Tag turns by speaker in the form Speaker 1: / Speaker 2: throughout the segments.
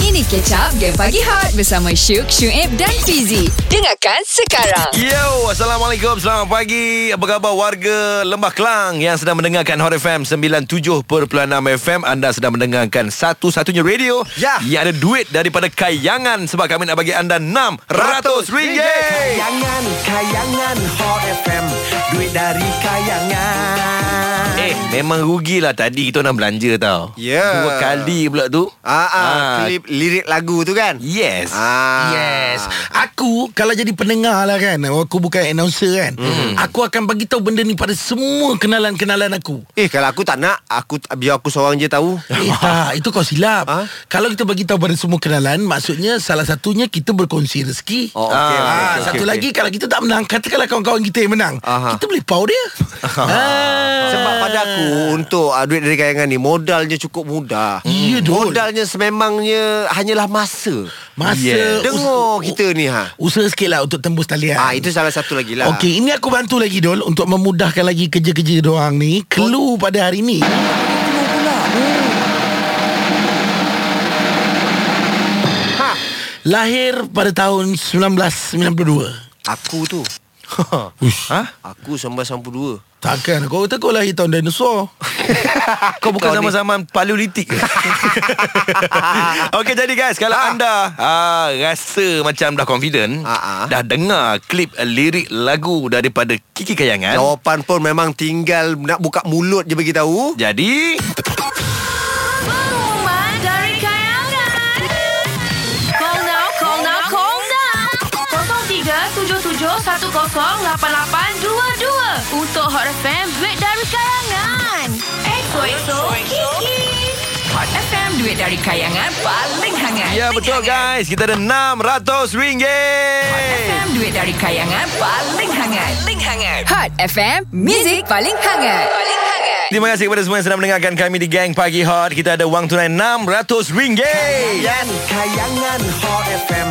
Speaker 1: Ini Catch Up Game Pagi Hot bersama Syuk, Syuib dan Fizi. Dengarkan sekarang.
Speaker 2: Yo, Assalamualaikum, selamat pagi Apa khabar warga Lembah Kelang Yang sedang mendengarkan Hot FM 97.6 FM Anda sedang mendengarkan satu-satunya radio
Speaker 3: Ya.
Speaker 2: Yang ada duit daripada kayangan Sebab kami nak bagi anda RM600
Speaker 3: Kayangan, kayangan Hot FM Duit dari kayangan
Speaker 2: Eh, memang rugilah tadi kita nak belanja tau
Speaker 3: Ya.
Speaker 2: Dua kali pula tu
Speaker 3: Ah, ah,
Speaker 2: Ah.
Speaker 3: klip lirik lagu tu kan?
Speaker 2: Yes
Speaker 3: Ah.
Speaker 4: Yes. Aku kalau jadi pendengar lah kan, aku bukan announcer kan.
Speaker 3: Mm-hmm.
Speaker 4: Mm. Aku akan bagi tahu benda ni pada semua kenalan-kenalan aku.
Speaker 3: Eh kalau aku tak nak, aku biar aku seorang je tahu.
Speaker 4: Eh, tak, itu kau silap.
Speaker 3: Ha?
Speaker 4: Ha? Kalau kita bagi tahu pada semua kenalan, maksudnya salah satunya kita berkongsi rezeki.
Speaker 3: Oh, okey,
Speaker 4: Ah,
Speaker 3: okey, okey,
Speaker 4: satu
Speaker 3: okey.
Speaker 4: lagi kalau kita tak menang, katakanlah kawan-kawan kita yang menang.
Speaker 3: Aha.
Speaker 4: Kita boleh pau dia. ah.
Speaker 3: Sebab pada aku untuk uh, duit dari kayangan ni modalnya cukup mudah.
Speaker 4: Ya, Dul.
Speaker 3: Modalnya sememangnya hanyalah masa.
Speaker 4: masa
Speaker 2: Yeah.
Speaker 4: yeah.
Speaker 3: Dengar kita ni ha.
Speaker 4: Usaha sikit lah untuk tembus talian
Speaker 3: Ah itu salah satu lagi lah.
Speaker 4: Okey, ini aku bantu lagi Dol untuk memudahkan lagi kerja-kerja doang ni. Clue pada hari ni. Oh.
Speaker 3: Ha.
Speaker 4: Lahir pada tahun 1992.
Speaker 3: Aku tu.
Speaker 2: Ha?
Speaker 3: Aku 1992.
Speaker 4: Takkan kau kata kau lahir tahun dinosaur.
Speaker 2: Kau bukan
Speaker 3: Kau ni.
Speaker 2: zaman-zaman paleolitik ke? Okey jadi guys Kalau anda ah, Rasa macam dah confident
Speaker 3: Ah, ah.
Speaker 2: Dah dengar klip eh, lirik lagu Daripada Kiki Kayangan
Speaker 3: Jawapan pun memang tinggal nak buka mulut je bagi tahu.
Speaker 2: Jadi
Speaker 5: Pengumuman dari kayangan. Call now, call now, call now. 0377108822 untuk Hot FM Duit dari Kayangan. Exo Kiki.
Speaker 1: Hot FM, duit dari kayangan paling hangat.
Speaker 2: Ya betul guys Kita ada RM600
Speaker 1: FM, duit dari kayangan paling hangat. Paling hangat. Hot FM, music paling hangat. Paling hangat.
Speaker 2: Terima kasih kepada semua yang sedang mendengarkan kami di Gang Pagi Hot Kita ada wang tunai RM600
Speaker 3: Kayangan, kayangan Hot FM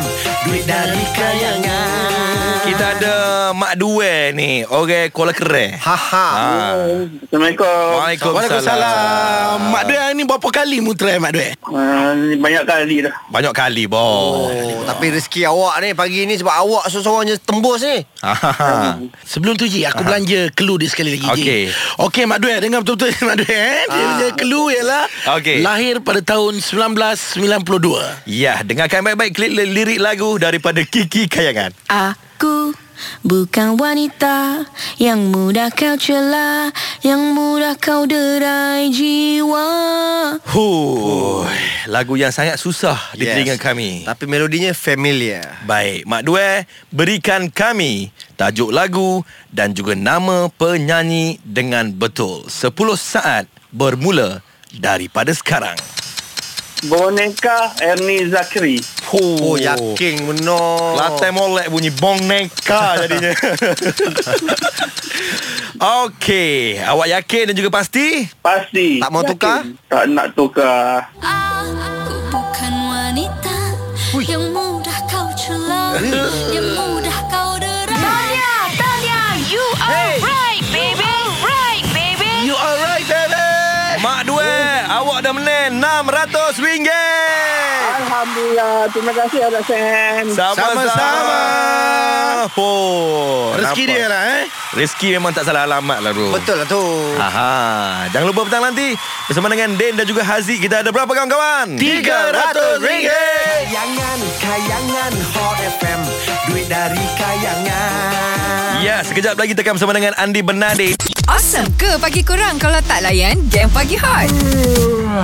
Speaker 3: Duit dari kayangan
Speaker 2: Kita ada Mak Dua ni Orang Kuala Kereh
Speaker 3: Haha
Speaker 2: Ah.
Speaker 6: Assalamualaikum.
Speaker 2: Waalaikumsalam.
Speaker 4: Waalaikumsalam. Mak Dua ni berapa kali mu try Mak Dua?
Speaker 6: Uh, ni banyak kali dah.
Speaker 2: Banyak kali boh.
Speaker 3: Oh, tapi rezeki awak ni pagi ni sebab awak seorang je tembus ni.
Speaker 2: Ah.
Speaker 4: Sebelum tu Ji Aku belanja clue dia sekali lagi Ji
Speaker 2: Okey. Ah.
Speaker 4: Okey Mak Dua Dengar betul-betul Mak Dua eh? Dia punya clue ialah
Speaker 2: Okey.
Speaker 4: Lahir pada tahun 1992
Speaker 2: Ya, dengarkan baik-baik klik li- lirik lagu daripada Kiki Kayangan.
Speaker 5: Aku bukan wanita yang mudah kau cela, yang mudah kau derai jiwa.
Speaker 2: Huh, lagu yang sangat susah di telinga kami.
Speaker 3: Tapi melodinya familiar.
Speaker 2: Baik, Mak Due, berikan kami tajuk lagu dan juga nama penyanyi dengan betul. 10 saat bermula daripada sekarang.
Speaker 6: Boneka Ernie Zakri.
Speaker 3: Oh, oh yakin benar.
Speaker 2: Latai molek bunyi bong neka jadinya. Okey, awak yakin dan juga pasti?
Speaker 6: Pasti.
Speaker 3: Tak mau
Speaker 6: Yakin?
Speaker 3: tukar?
Speaker 6: Tak nak tukar.
Speaker 5: Aku bukan wanita yang mudah kau cela, yang mudah kau derai. Tanya, Tanya, you are right, baby, right, baby.
Speaker 2: You alright baby Mak Due Awak dah menang RM600
Speaker 6: Alhamdulillah. Terima kasih atas Sam.
Speaker 2: Sama-sama oh,
Speaker 4: Rezeki dia lah eh
Speaker 2: Rezeki memang tak salah alamat lah bro
Speaker 3: Betul lah tu.
Speaker 2: Aha. Jangan lupa petang nanti Bersama dengan Din dan juga Haziq Kita ada berapa kawan-kawan?
Speaker 4: RM300.
Speaker 3: Kayangan, kayangan Hot FM Duit dari kayangan.
Speaker 2: Ya, sekejap lagi tekan bersama dengan Andi Bernadi
Speaker 1: Awesome ke pagi kurang kalau tak layan Game Pagi Hot?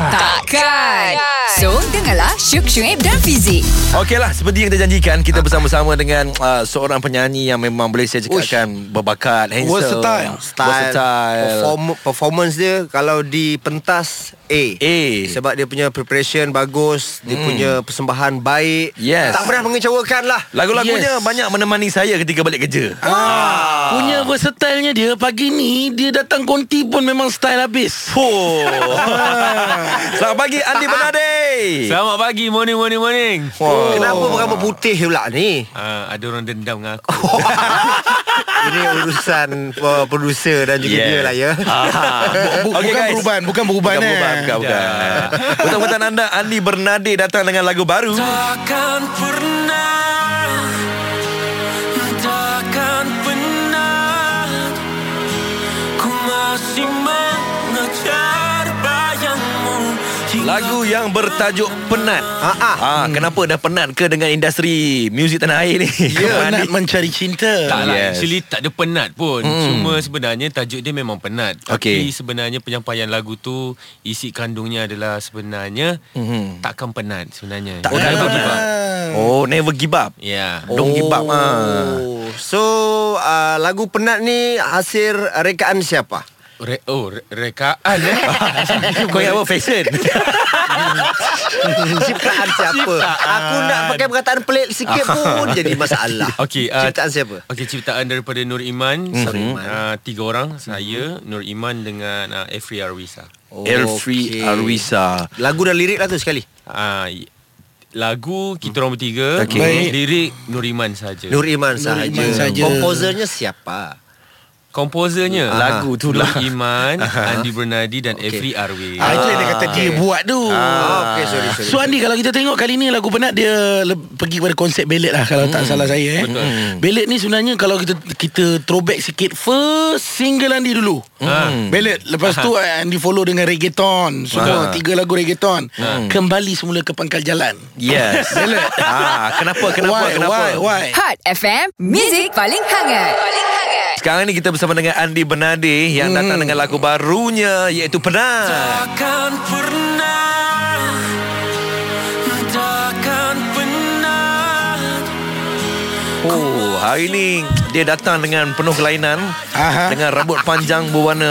Speaker 1: Takkan. So, dengarlah Syuk, Syuib dan Fizi.
Speaker 2: Okeylah, seperti yang kita janjikan Kita bersama-sama dengan uh, seorang penyanyi Yang memang boleh saya cakapkan Berbakat, handsome
Speaker 3: Style,
Speaker 2: Versatile
Speaker 3: perform- Performance dia Kalau di pentas A
Speaker 2: A. Hmm.
Speaker 3: Sebab dia punya preparation bagus Dia punya persembahan baik
Speaker 2: Yes.
Speaker 3: Tak pernah mengecewakan lah
Speaker 2: Lagu-lagunya
Speaker 4: Yes.
Speaker 2: banyak menemani saya ketika balik kerja
Speaker 4: Ah. Punya versatile-nya dia Pagi ni Dia datang konti pun Memang style habis
Speaker 2: Oh. Selamat pagi Andi Bernade.
Speaker 7: Selamat pagi Morning morning morning
Speaker 2: Oh.
Speaker 7: Ah,
Speaker 3: Kenapa berambut putih pula ni
Speaker 7: uh, Ada orang dendam dengan aku
Speaker 3: Ini urusan uh, producer dan juga yeah. dia lah ya.
Speaker 2: Ah.
Speaker 4: Ah, Bu-
Speaker 2: Okay,
Speaker 4: bukan
Speaker 2: guys.
Speaker 4: perubahan Bukan perubahan
Speaker 2: Bukan,
Speaker 4: eh.
Speaker 2: bukan, bukan, bukan. Petang-petang anda Andi Bernadi datang dengan lagu baru
Speaker 8: Takkan pernah Takkan pernah Ku masih mengejar bayangmu hingga
Speaker 2: Lagu yang bertajuk Penat
Speaker 3: Ha ah.
Speaker 2: Ah, hmm. Kenapa dah penat ke dengan industri muzik tanah air ni?
Speaker 4: Dia Ya, penat mencari cinta
Speaker 7: Tak lah
Speaker 2: Yes.
Speaker 7: yes. Actually tak ada penat pun mm. Cuma sebenarnya Tajuk dia memang penat
Speaker 2: Okey.
Speaker 7: Tapi sebenarnya penyampaian lagu tu Isi kandungnya adalah Sebenarnya
Speaker 2: Mhm.
Speaker 7: mm. Takkan penat sebenarnya
Speaker 2: Tak
Speaker 7: Jangan
Speaker 2: pernah.
Speaker 7: give up.
Speaker 2: Oh, never give up.
Speaker 7: Ya yeah.
Speaker 2: Don't give up ah.
Speaker 3: So uh, lagu penat ni hasil rekaan siapa?
Speaker 7: Re- Oh re- rekaan eh
Speaker 2: Kau ingat apa fashion?
Speaker 3: Ciptaan siapa? Aku nak pakai perkataan pelik sikit pun jadi masalah.
Speaker 7: Okey,
Speaker 3: uh,
Speaker 7: ah,
Speaker 3: ciptaan siapa?
Speaker 7: Okey, ciptaan daripada Nur Iman.
Speaker 2: Mhm.
Speaker 7: Mm-hmm. Uh, tiga orang, saya, Nur Iman dengan uh, Efri Arwisa.
Speaker 2: Elfri
Speaker 3: Okey.
Speaker 2: Arwisa.
Speaker 3: Lagu dan lirik lah tu sekali.
Speaker 7: Uh, lagu kita orang bertiga,
Speaker 2: Okey.
Speaker 7: okay. lirik Nur Iman saja.
Speaker 3: Nur Iman sahaja.
Speaker 4: Iman sahaja.
Speaker 3: Komposernya siapa?
Speaker 7: Komposernya
Speaker 2: Aha. Lagu tu lah.
Speaker 7: Nur Iman, Andi Bernadi dan okay. Efri Arwi.
Speaker 4: Ah, itu yang dia kata dia buat tu.
Speaker 3: Ah, okay, sorry, sorry.
Speaker 4: So Andi kalau kita tengok kali ni lagu penat dia le- pergi pada konsep belit lah kalau
Speaker 2: Hmm,
Speaker 4: tak salah saya eh.
Speaker 7: Betul.
Speaker 4: Belit ni sebenarnya kalau kita kita throwback sikit first single Andi dulu.
Speaker 7: Ha.
Speaker 4: Belit lepas tu Andi follow dengan reggaeton. Semua
Speaker 2: Ah.
Speaker 4: tiga lagu reggaeton.
Speaker 2: Ha.
Speaker 4: Kembali semula ke pangkal jalan.
Speaker 2: Yes. ah, kenapa kenapa
Speaker 4: why,
Speaker 2: kenapa?
Speaker 4: Why why?
Speaker 1: Hot FM, music paling hangat. Paling hangat.
Speaker 2: Sekarang ni kita bersama dengan Andi Bernadi yang datang dengan lagu barunya iaitu Penat.
Speaker 8: Takkan pernah Takkan pernah
Speaker 2: Oh, hari ni dia datang dengan penuh kelainan
Speaker 4: Aha.
Speaker 2: dengan rambut panjang berwarna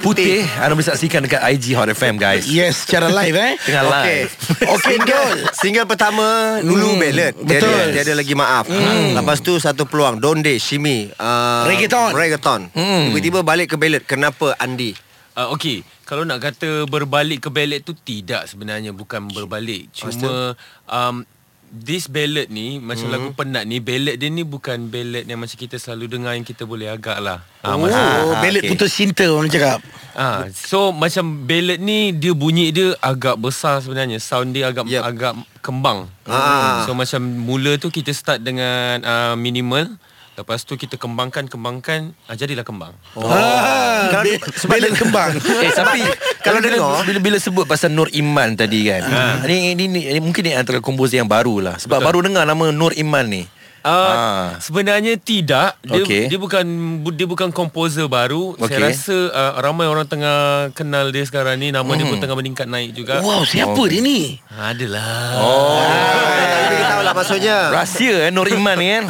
Speaker 2: putih. Ya. Anda boleh saksikan dekat IG Hot FM guys.
Speaker 4: Yes, secara live eh.
Speaker 2: Tengah live.
Speaker 3: Okay Single Single pertama Lulu
Speaker 4: Hmm,
Speaker 3: hmm, Ballad Dia
Speaker 4: betul.
Speaker 3: ada, dia ada lagi maaf hmm. Lepas tu satu peluang Donde Shimi uh,
Speaker 4: Reggaeton.
Speaker 3: Reggaeton
Speaker 2: Hmm.
Speaker 3: Tiba-tiba balik ke ballad Kenapa Andi?
Speaker 7: Uh, Okey, kalau nak kata berbalik ke ballad tu tidak sebenarnya bukan berbalik. Cuma um this ballad ni macam mm. lagu penat ni ballad dia ni bukan ballad yang macam kita selalu dengar yang kita boleh agak lah. Ah,
Speaker 4: Oh,
Speaker 7: macam-
Speaker 4: oh
Speaker 2: ah,
Speaker 4: belit
Speaker 2: okay.
Speaker 4: putus cinta orang cakap.
Speaker 7: Ah, so macam ballad ni dia bunyi dia agak besar sebenarnya. Sound dia agak
Speaker 3: Yep.
Speaker 7: yep. agak kembang.
Speaker 3: Ah.
Speaker 7: So macam mula tu kita start dengan uh, minimal, lepas tu kita kembangkan kembangkan, ah, jadilah kembang.
Speaker 4: Oh. Ah, be- belit kembang.
Speaker 2: Eh tapi
Speaker 3: Kalau
Speaker 2: kalau bila,
Speaker 3: dengar-
Speaker 2: bila bila sebut pasal Nur Iman tadi kan. Ni, ni, ni, ni mungkin ni antara komposer yang baru lah sebab Betul. baru dengar nama Nur Iman ni.
Speaker 7: Uh,
Speaker 2: Ah.
Speaker 7: sebenarnya tidak dia
Speaker 2: Okey.
Speaker 7: okay. dia bukan bu- dia bukan komposer baru
Speaker 2: Okey.
Speaker 7: okay. saya rasa uh, ramai orang tengah kenal dia sekarang ni nama mm. dia pun tengah meningkat naik juga Ah,
Speaker 4: Wow, siapa
Speaker 2: Oh.
Speaker 4: dia ni?
Speaker 7: adalah
Speaker 2: Oh.
Speaker 3: Tapi kita tahu lah maksudnya
Speaker 2: Rahsia eh Nur Iman ni kan.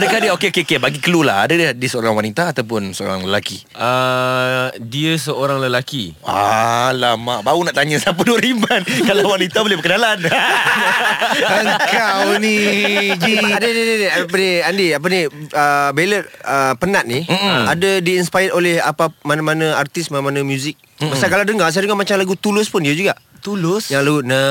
Speaker 2: Adakah dia okey okey okey bagi clue lah. Ada dia, dia seorang wanita ataupun seorang lelaki?
Speaker 7: uh, dia seorang lelaki
Speaker 2: Alamak Baru nak tanya Siapa Nur Iman Kalau wanita boleh berkenalan
Speaker 4: Engkau ni Ji
Speaker 3: ada ni, ni, ni, apa ni Andi apa ni uh, ballad uh, penat ni
Speaker 4: Hmm.
Speaker 3: Mm-mm. ada diinspired oleh apa mana-mana artis mana-mana muzik
Speaker 4: Hmm.
Speaker 3: pasal kalau dengar saya dengar macam lagu Tulus pun dia juga Tulus yang lagu na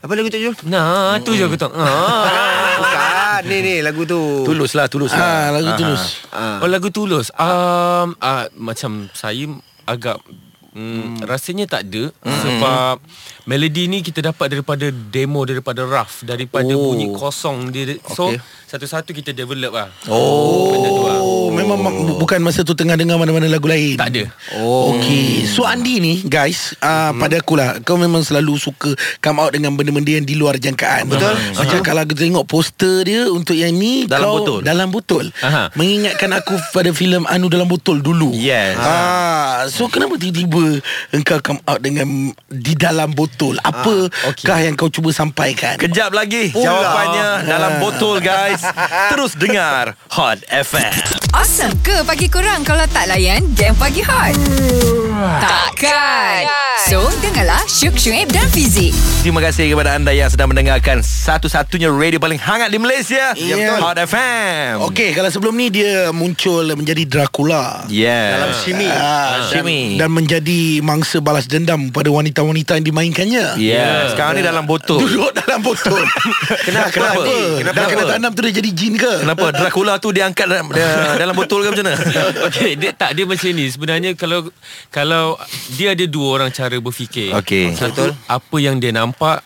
Speaker 3: apa lagu tu Jul
Speaker 7: nah tu je aku tahu ah.
Speaker 3: Bukan Ni ni lagu tu
Speaker 2: Tulus lah Tulus
Speaker 4: Ah,
Speaker 2: lah
Speaker 4: lagu tulus
Speaker 2: Ah.
Speaker 7: Oh lagu tulus. Um uh, macam saya agak
Speaker 2: Hmm.
Speaker 7: mm, rasanya tak ada mm. sebab melodi ni kita dapat daripada demo daripada raf daripada oh. bunyi kosong dia. So
Speaker 2: Okay.
Speaker 7: okay. satu-satu kita develop lah.
Speaker 2: Oh
Speaker 7: Benda tu lah.
Speaker 4: Oh, memang bu- bukan masa tu tengah dengar mana-mana lagu lain.
Speaker 7: Tak ada.
Speaker 4: Oh. Okey. So Andi ni guys, uh, hmm. pada akulah kau memang selalu suka come out dengan benda-benda yang di luar jangkaan. Betul. Macam kalau kita tengok poster dia untuk yang ni
Speaker 2: Dalam
Speaker 4: kau
Speaker 2: botol.
Speaker 4: dalam botol.
Speaker 7: Aha.
Speaker 4: Mengingatkan aku pada filem Anu dalam botol dulu.
Speaker 2: Yes.
Speaker 4: Ah, so kenapa tiba-tiba engkau come out dengan di dalam botol? Apakah yang kau cuba sampaikan?
Speaker 2: Kejap lagi Pula. Jawapannya Dalam botol guys Terus dengar Hot FM
Speaker 1: Awesome ke pagi korang kalau tak layan game pagi hot? Takkan. So, dengarlah Syuk Syuib dan Fizik.
Speaker 2: Terima kasih kepada anda yang sedang mendengarkan satu-satunya radio paling hangat di Malaysia.
Speaker 4: Ya, betul.
Speaker 2: Hot FM.
Speaker 4: Okey, kalau sebelum ni dia muncul menjadi Dracula.
Speaker 2: Yeah.
Speaker 3: Dalam Simi.
Speaker 4: Ah, dan-
Speaker 2: Simi.
Speaker 4: Dan menjadi mangsa balas dendam pada wanita-wanita yang dimainkannya.
Speaker 2: Yeah. Sekarang ni dalam botol.
Speaker 4: Duduk dalam botol.
Speaker 2: Kenapa?
Speaker 4: Kenapa?
Speaker 2: Kenapa?
Speaker 4: Kenapa? Dah kena tanam tu dia jadi jin ke?
Speaker 2: Kenapa? Dracula tu dia angkat dalam, dia, dalam botol ke macam mana?
Speaker 7: Okey, dia tak dia macam ni. Sebenarnya kalau kalau dia ada dua orang cara berfikir.
Speaker 2: Okey.
Speaker 7: Satu apa yang dia nampak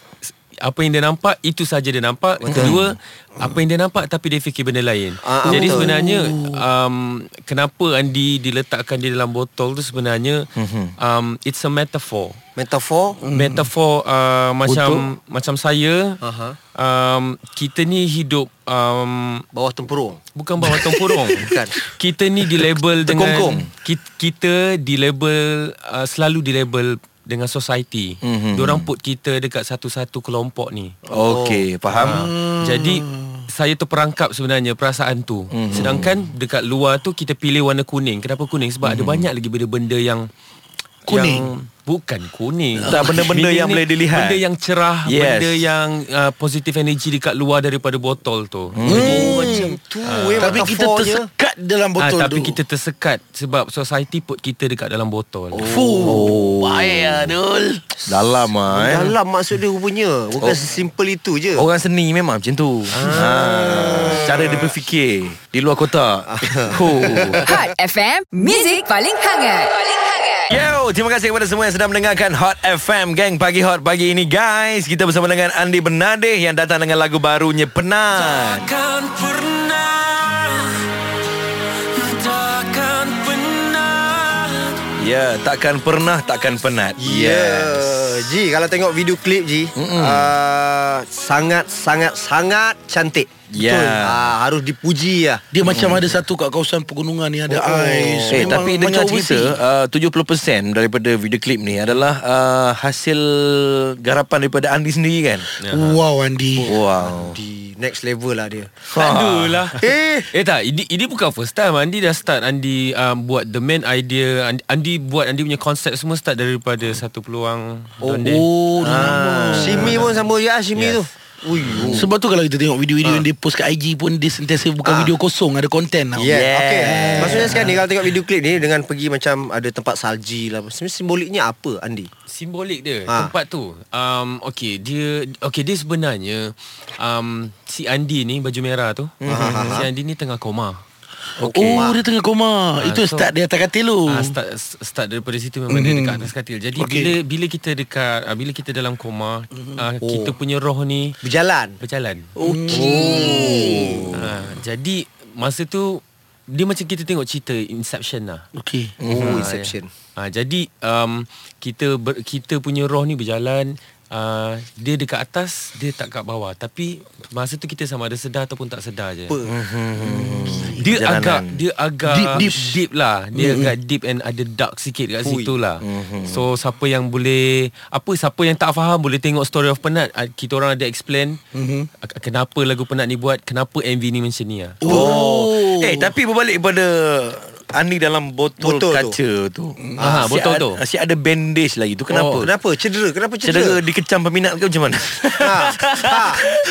Speaker 7: apa yang dia nampak itu saja dia nampak. Kedua apa yang dia nampak tapi dia fikir benda lain.
Speaker 3: Ah, ah,
Speaker 7: Jadi
Speaker 3: betul.
Speaker 7: sebenarnya um, kenapa Andi diletakkan di dalam botol tu sebenarnya um, it's a metaphor.
Speaker 3: Metafor
Speaker 7: Metafor uh, macam macam saya uh-huh. um, kita ni hidup um,
Speaker 3: bawah tempurung.
Speaker 7: Bukan bawah tempurung
Speaker 3: Bukan.
Speaker 7: Kita ni dilabel dengan
Speaker 2: Terkongkong.
Speaker 7: kita, kita dilabel uh, Selalu dilabel dengan society
Speaker 2: Mhm.
Speaker 7: mm-hmm. Diorang put kita dekat satu-satu kelompok ni
Speaker 2: Okey, faham?
Speaker 7: uh, Jadi saya terperangkap sebenarnya perasaan tu
Speaker 2: Mhm.
Speaker 7: mm-hmm. Sedangkan dekat luar tu kita pilih warna kuning Kenapa kuning?
Speaker 2: Mhm.
Speaker 7: Sebab mm-hmm. ada banyak lagi benda-benda yang
Speaker 4: Kuning.
Speaker 7: yang, Bukan kuning
Speaker 2: Tak, benda-benda
Speaker 7: Meaning
Speaker 2: yang
Speaker 7: ni,
Speaker 2: boleh dilihat.
Speaker 7: Benda yang cerah
Speaker 2: Yes.
Speaker 7: Benda yang uh, positif energy dekat luar daripada botol tu mm.
Speaker 2: Hmm.
Speaker 3: Oh, macam tu eh
Speaker 4: Tapi kita
Speaker 3: metafornya.
Speaker 4: tersekat dalam botol
Speaker 7: ah, tapi
Speaker 4: tu.
Speaker 7: kita tersekat sebab society put kita dekat dalam botol. Oh.
Speaker 4: Fuh. Bahaya Dul.
Speaker 2: Dalam ah. Eh.
Speaker 3: Dalam maksud dia rupanya
Speaker 2: Oh.
Speaker 3: Bukan oh. sesimpel itu je
Speaker 2: Orang seni memang macam tu. Ah. Cara dia berfikir di luar kotak. Oh.
Speaker 1: Hot FM, Music paling hangat. Ya. Paling hangat.
Speaker 2: Yo, terima kasih kepada semua yang sedang mendengarkan Hot FM Gang Pagi Hot pagi ini guys Kita bersama dengan Andi Bernadeh Yang datang dengan lagu barunya Penat
Speaker 8: Takkan pernah Takkan pernah
Speaker 2: Ya, takkan pernah takkan penat
Speaker 3: Ya. Yeah. Eh, Ji, kalau tengok video klip Ji, uh, sangat sangat sangat cantik.
Speaker 2: Ya.
Speaker 3: Betul. Ah, harus dipuji lah.
Speaker 4: Dia macam ada satu kat kawasan pegunungan ni
Speaker 3: Oh.
Speaker 4: ada ais.
Speaker 2: Eh,
Speaker 4: Memang
Speaker 2: tapi
Speaker 4: macam
Speaker 2: dengar
Speaker 4: overseas.
Speaker 2: cerita uh, 70% daripada video klip ni adalah uh, hasil garapan daripada Andi sendiri kan
Speaker 4: Wow Andi.
Speaker 2: Wow
Speaker 3: Di next level lah dia.
Speaker 7: Adulah.
Speaker 3: Eh.
Speaker 7: Ah. Eh tak, ini, ini bukan first time Andi dah start Andi um, buat the main idea Andi, Andi buat Andi punya konsep semua start daripada satu peluang
Speaker 3: Oh,
Speaker 7: Donde.
Speaker 3: oh ah. Simi pun sama juga ah, Simi yes. tu. Ui.
Speaker 2: Hmm.
Speaker 3: oh.
Speaker 4: Sebab tu kalau kita tengok video-video
Speaker 2: Ah.
Speaker 4: yang dia post kat IG pun dia sentiasa bukan video kosong, ada konten tau.
Speaker 3: Yeah.
Speaker 2: Yeah.
Speaker 3: yeah. Okay. Ya, Maksudnya sekarang ni kalau tengok video klip ni dengan pergi macam ada tempat salji lah. Sebenarnya simboliknya apa Andi?
Speaker 7: Simbolik dia
Speaker 3: Ah.
Speaker 7: ha. Tempat tu um, Okay dia Okay dia sebenarnya um, Si Andi ni Baju merah tu Si Andi ni tengah koma
Speaker 4: Okay. Oh, dia tengah koma. Itu
Speaker 7: Ah, so-
Speaker 4: start dia atas katil tu.
Speaker 7: Ah, start start daripada situ memang mm-hmm. dia dekat atas katil. Jadi
Speaker 4: Okey.
Speaker 7: okay. bila bila kita dekat ah, bila kita dalam koma, mm-hmm. ah, kita punya roh ni
Speaker 2: Ah,
Speaker 3: Berjalan.
Speaker 7: berjalan. Okey. Ah, jadi masa tu dia macam kita tengok cerita Inception lah.
Speaker 4: Okey.
Speaker 2: Hmm,
Speaker 3: Oh, inception.
Speaker 7: Ah, jadi um, kita ber, kita punya roh ni berjalan Uh, dia dekat atas Dia tak kat bawah Tapi Masa tu kita sama ada sedar Ataupun tak sedar je Hmm. Dia
Speaker 2: Perjalanan.
Speaker 7: agak Dia agak
Speaker 4: Deep, deep.
Speaker 7: deep lah Dia mm-hmm. agak deep And ada dark sikit Kat situ lah mm-hmm. So siapa yang boleh Apa siapa yang tak faham Boleh tengok story of penat Ah, Kita orang ada explain mm-hmm. Kenapa lagu penat ni buat Kenapa MV ni macam ni lah
Speaker 2: Oh. Eh tapi berbalik pada Andi dalam botol,
Speaker 3: Botol tu.
Speaker 2: kaca tu.
Speaker 7: Ah, botol
Speaker 2: si
Speaker 7: tu.
Speaker 2: Ada, si ada bandage lagi tu kenapa?
Speaker 7: Oh,
Speaker 3: Kenapa? Cedera? Kenapa
Speaker 2: Cedera
Speaker 3: cedera?
Speaker 2: dikecam peminat ke macam mana?
Speaker 3: Ha. ha.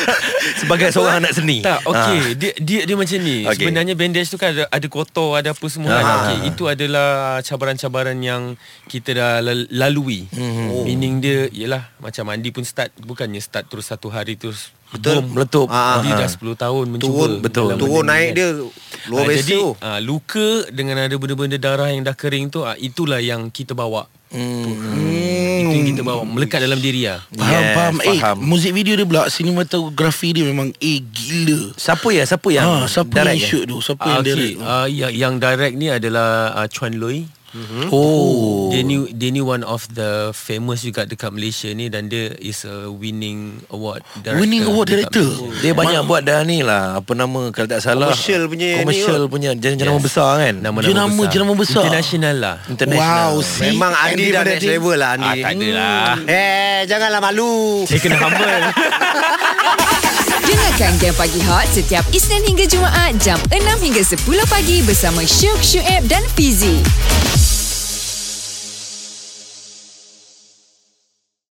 Speaker 2: Sebagai seorang anak seni.
Speaker 7: Tak, okey. Ha. Dia dia dia macam ni.
Speaker 2: Eh. Ah. Okey.
Speaker 7: Okay. Sebenarnya bandage tu kan ada ada kotor, ada apa semua ha. kan.
Speaker 2: Ah.
Speaker 7: Okey, itu adalah cabaran-cabaran yang kita dah lal- lalui. Mm-hmm. Oh. Meaning dia ialah macam mandi pun start bukannya start terus satu hari terus
Speaker 2: Betul, meletup.
Speaker 7: Ah, dia
Speaker 2: Ah.
Speaker 7: dah 10 tahun mencuba.
Speaker 3: Turun
Speaker 2: Betul.
Speaker 3: betul.
Speaker 7: dalam
Speaker 3: Turun
Speaker 7: benda ni
Speaker 3: naik
Speaker 7: kan.
Speaker 3: dia luar
Speaker 7: Ah,
Speaker 3: biasa
Speaker 7: Jadi
Speaker 3: tu.
Speaker 7: ah, luka dengan ada benda-benda darah yang dah kering tu ah, itulah yang kita bawa. Hmm. Itu yang kita bawa melekat dalam diri ah.
Speaker 4: Faham,
Speaker 2: Yes,
Speaker 4: faham. Eh,
Speaker 2: faham.
Speaker 4: muzik video dia pula sinematografi dia memang eh gila.
Speaker 2: Siapa ya? Siapa yang
Speaker 4: Ha, siapa yang
Speaker 2: direct eh? ya?
Speaker 4: shoot tu? Siapa
Speaker 7: Ah,
Speaker 4: yang direct?
Speaker 7: okay. Ah, yang, yang direct ni adalah ah, Chuan Lui.
Speaker 4: Mhm.
Speaker 2: Oh.
Speaker 7: Dia ni dia ni one of the famous juga dekat Malaysia ni dan dia is a winning award director.
Speaker 4: Winning award
Speaker 7: dekat
Speaker 4: director?
Speaker 7: Malaysia.
Speaker 2: Dia banyak buat dah ni lah Apa nama Kalau tak salah
Speaker 3: Commercial punya ni
Speaker 2: Commercial
Speaker 3: kot.
Speaker 2: punya Jenama
Speaker 7: Yes.
Speaker 2: besar kan
Speaker 7: Nama-nama
Speaker 4: Jenama-
Speaker 7: besar.
Speaker 4: jenama besar.
Speaker 7: International lah.
Speaker 2: International
Speaker 4: Wow, see.
Speaker 3: Memang Andi dah
Speaker 4: Pada
Speaker 3: next
Speaker 4: dia-
Speaker 3: level lah Andi.
Speaker 7: Ah, tak adalah.
Speaker 3: Eh, janganlah malu.
Speaker 7: Dia kena humble.
Speaker 1: Dengarkan Game Pagi Hot setiap Isnin hingga Jumaat jam 6 hingga 10 pagi bersama Syuk Syuib dan Fizik.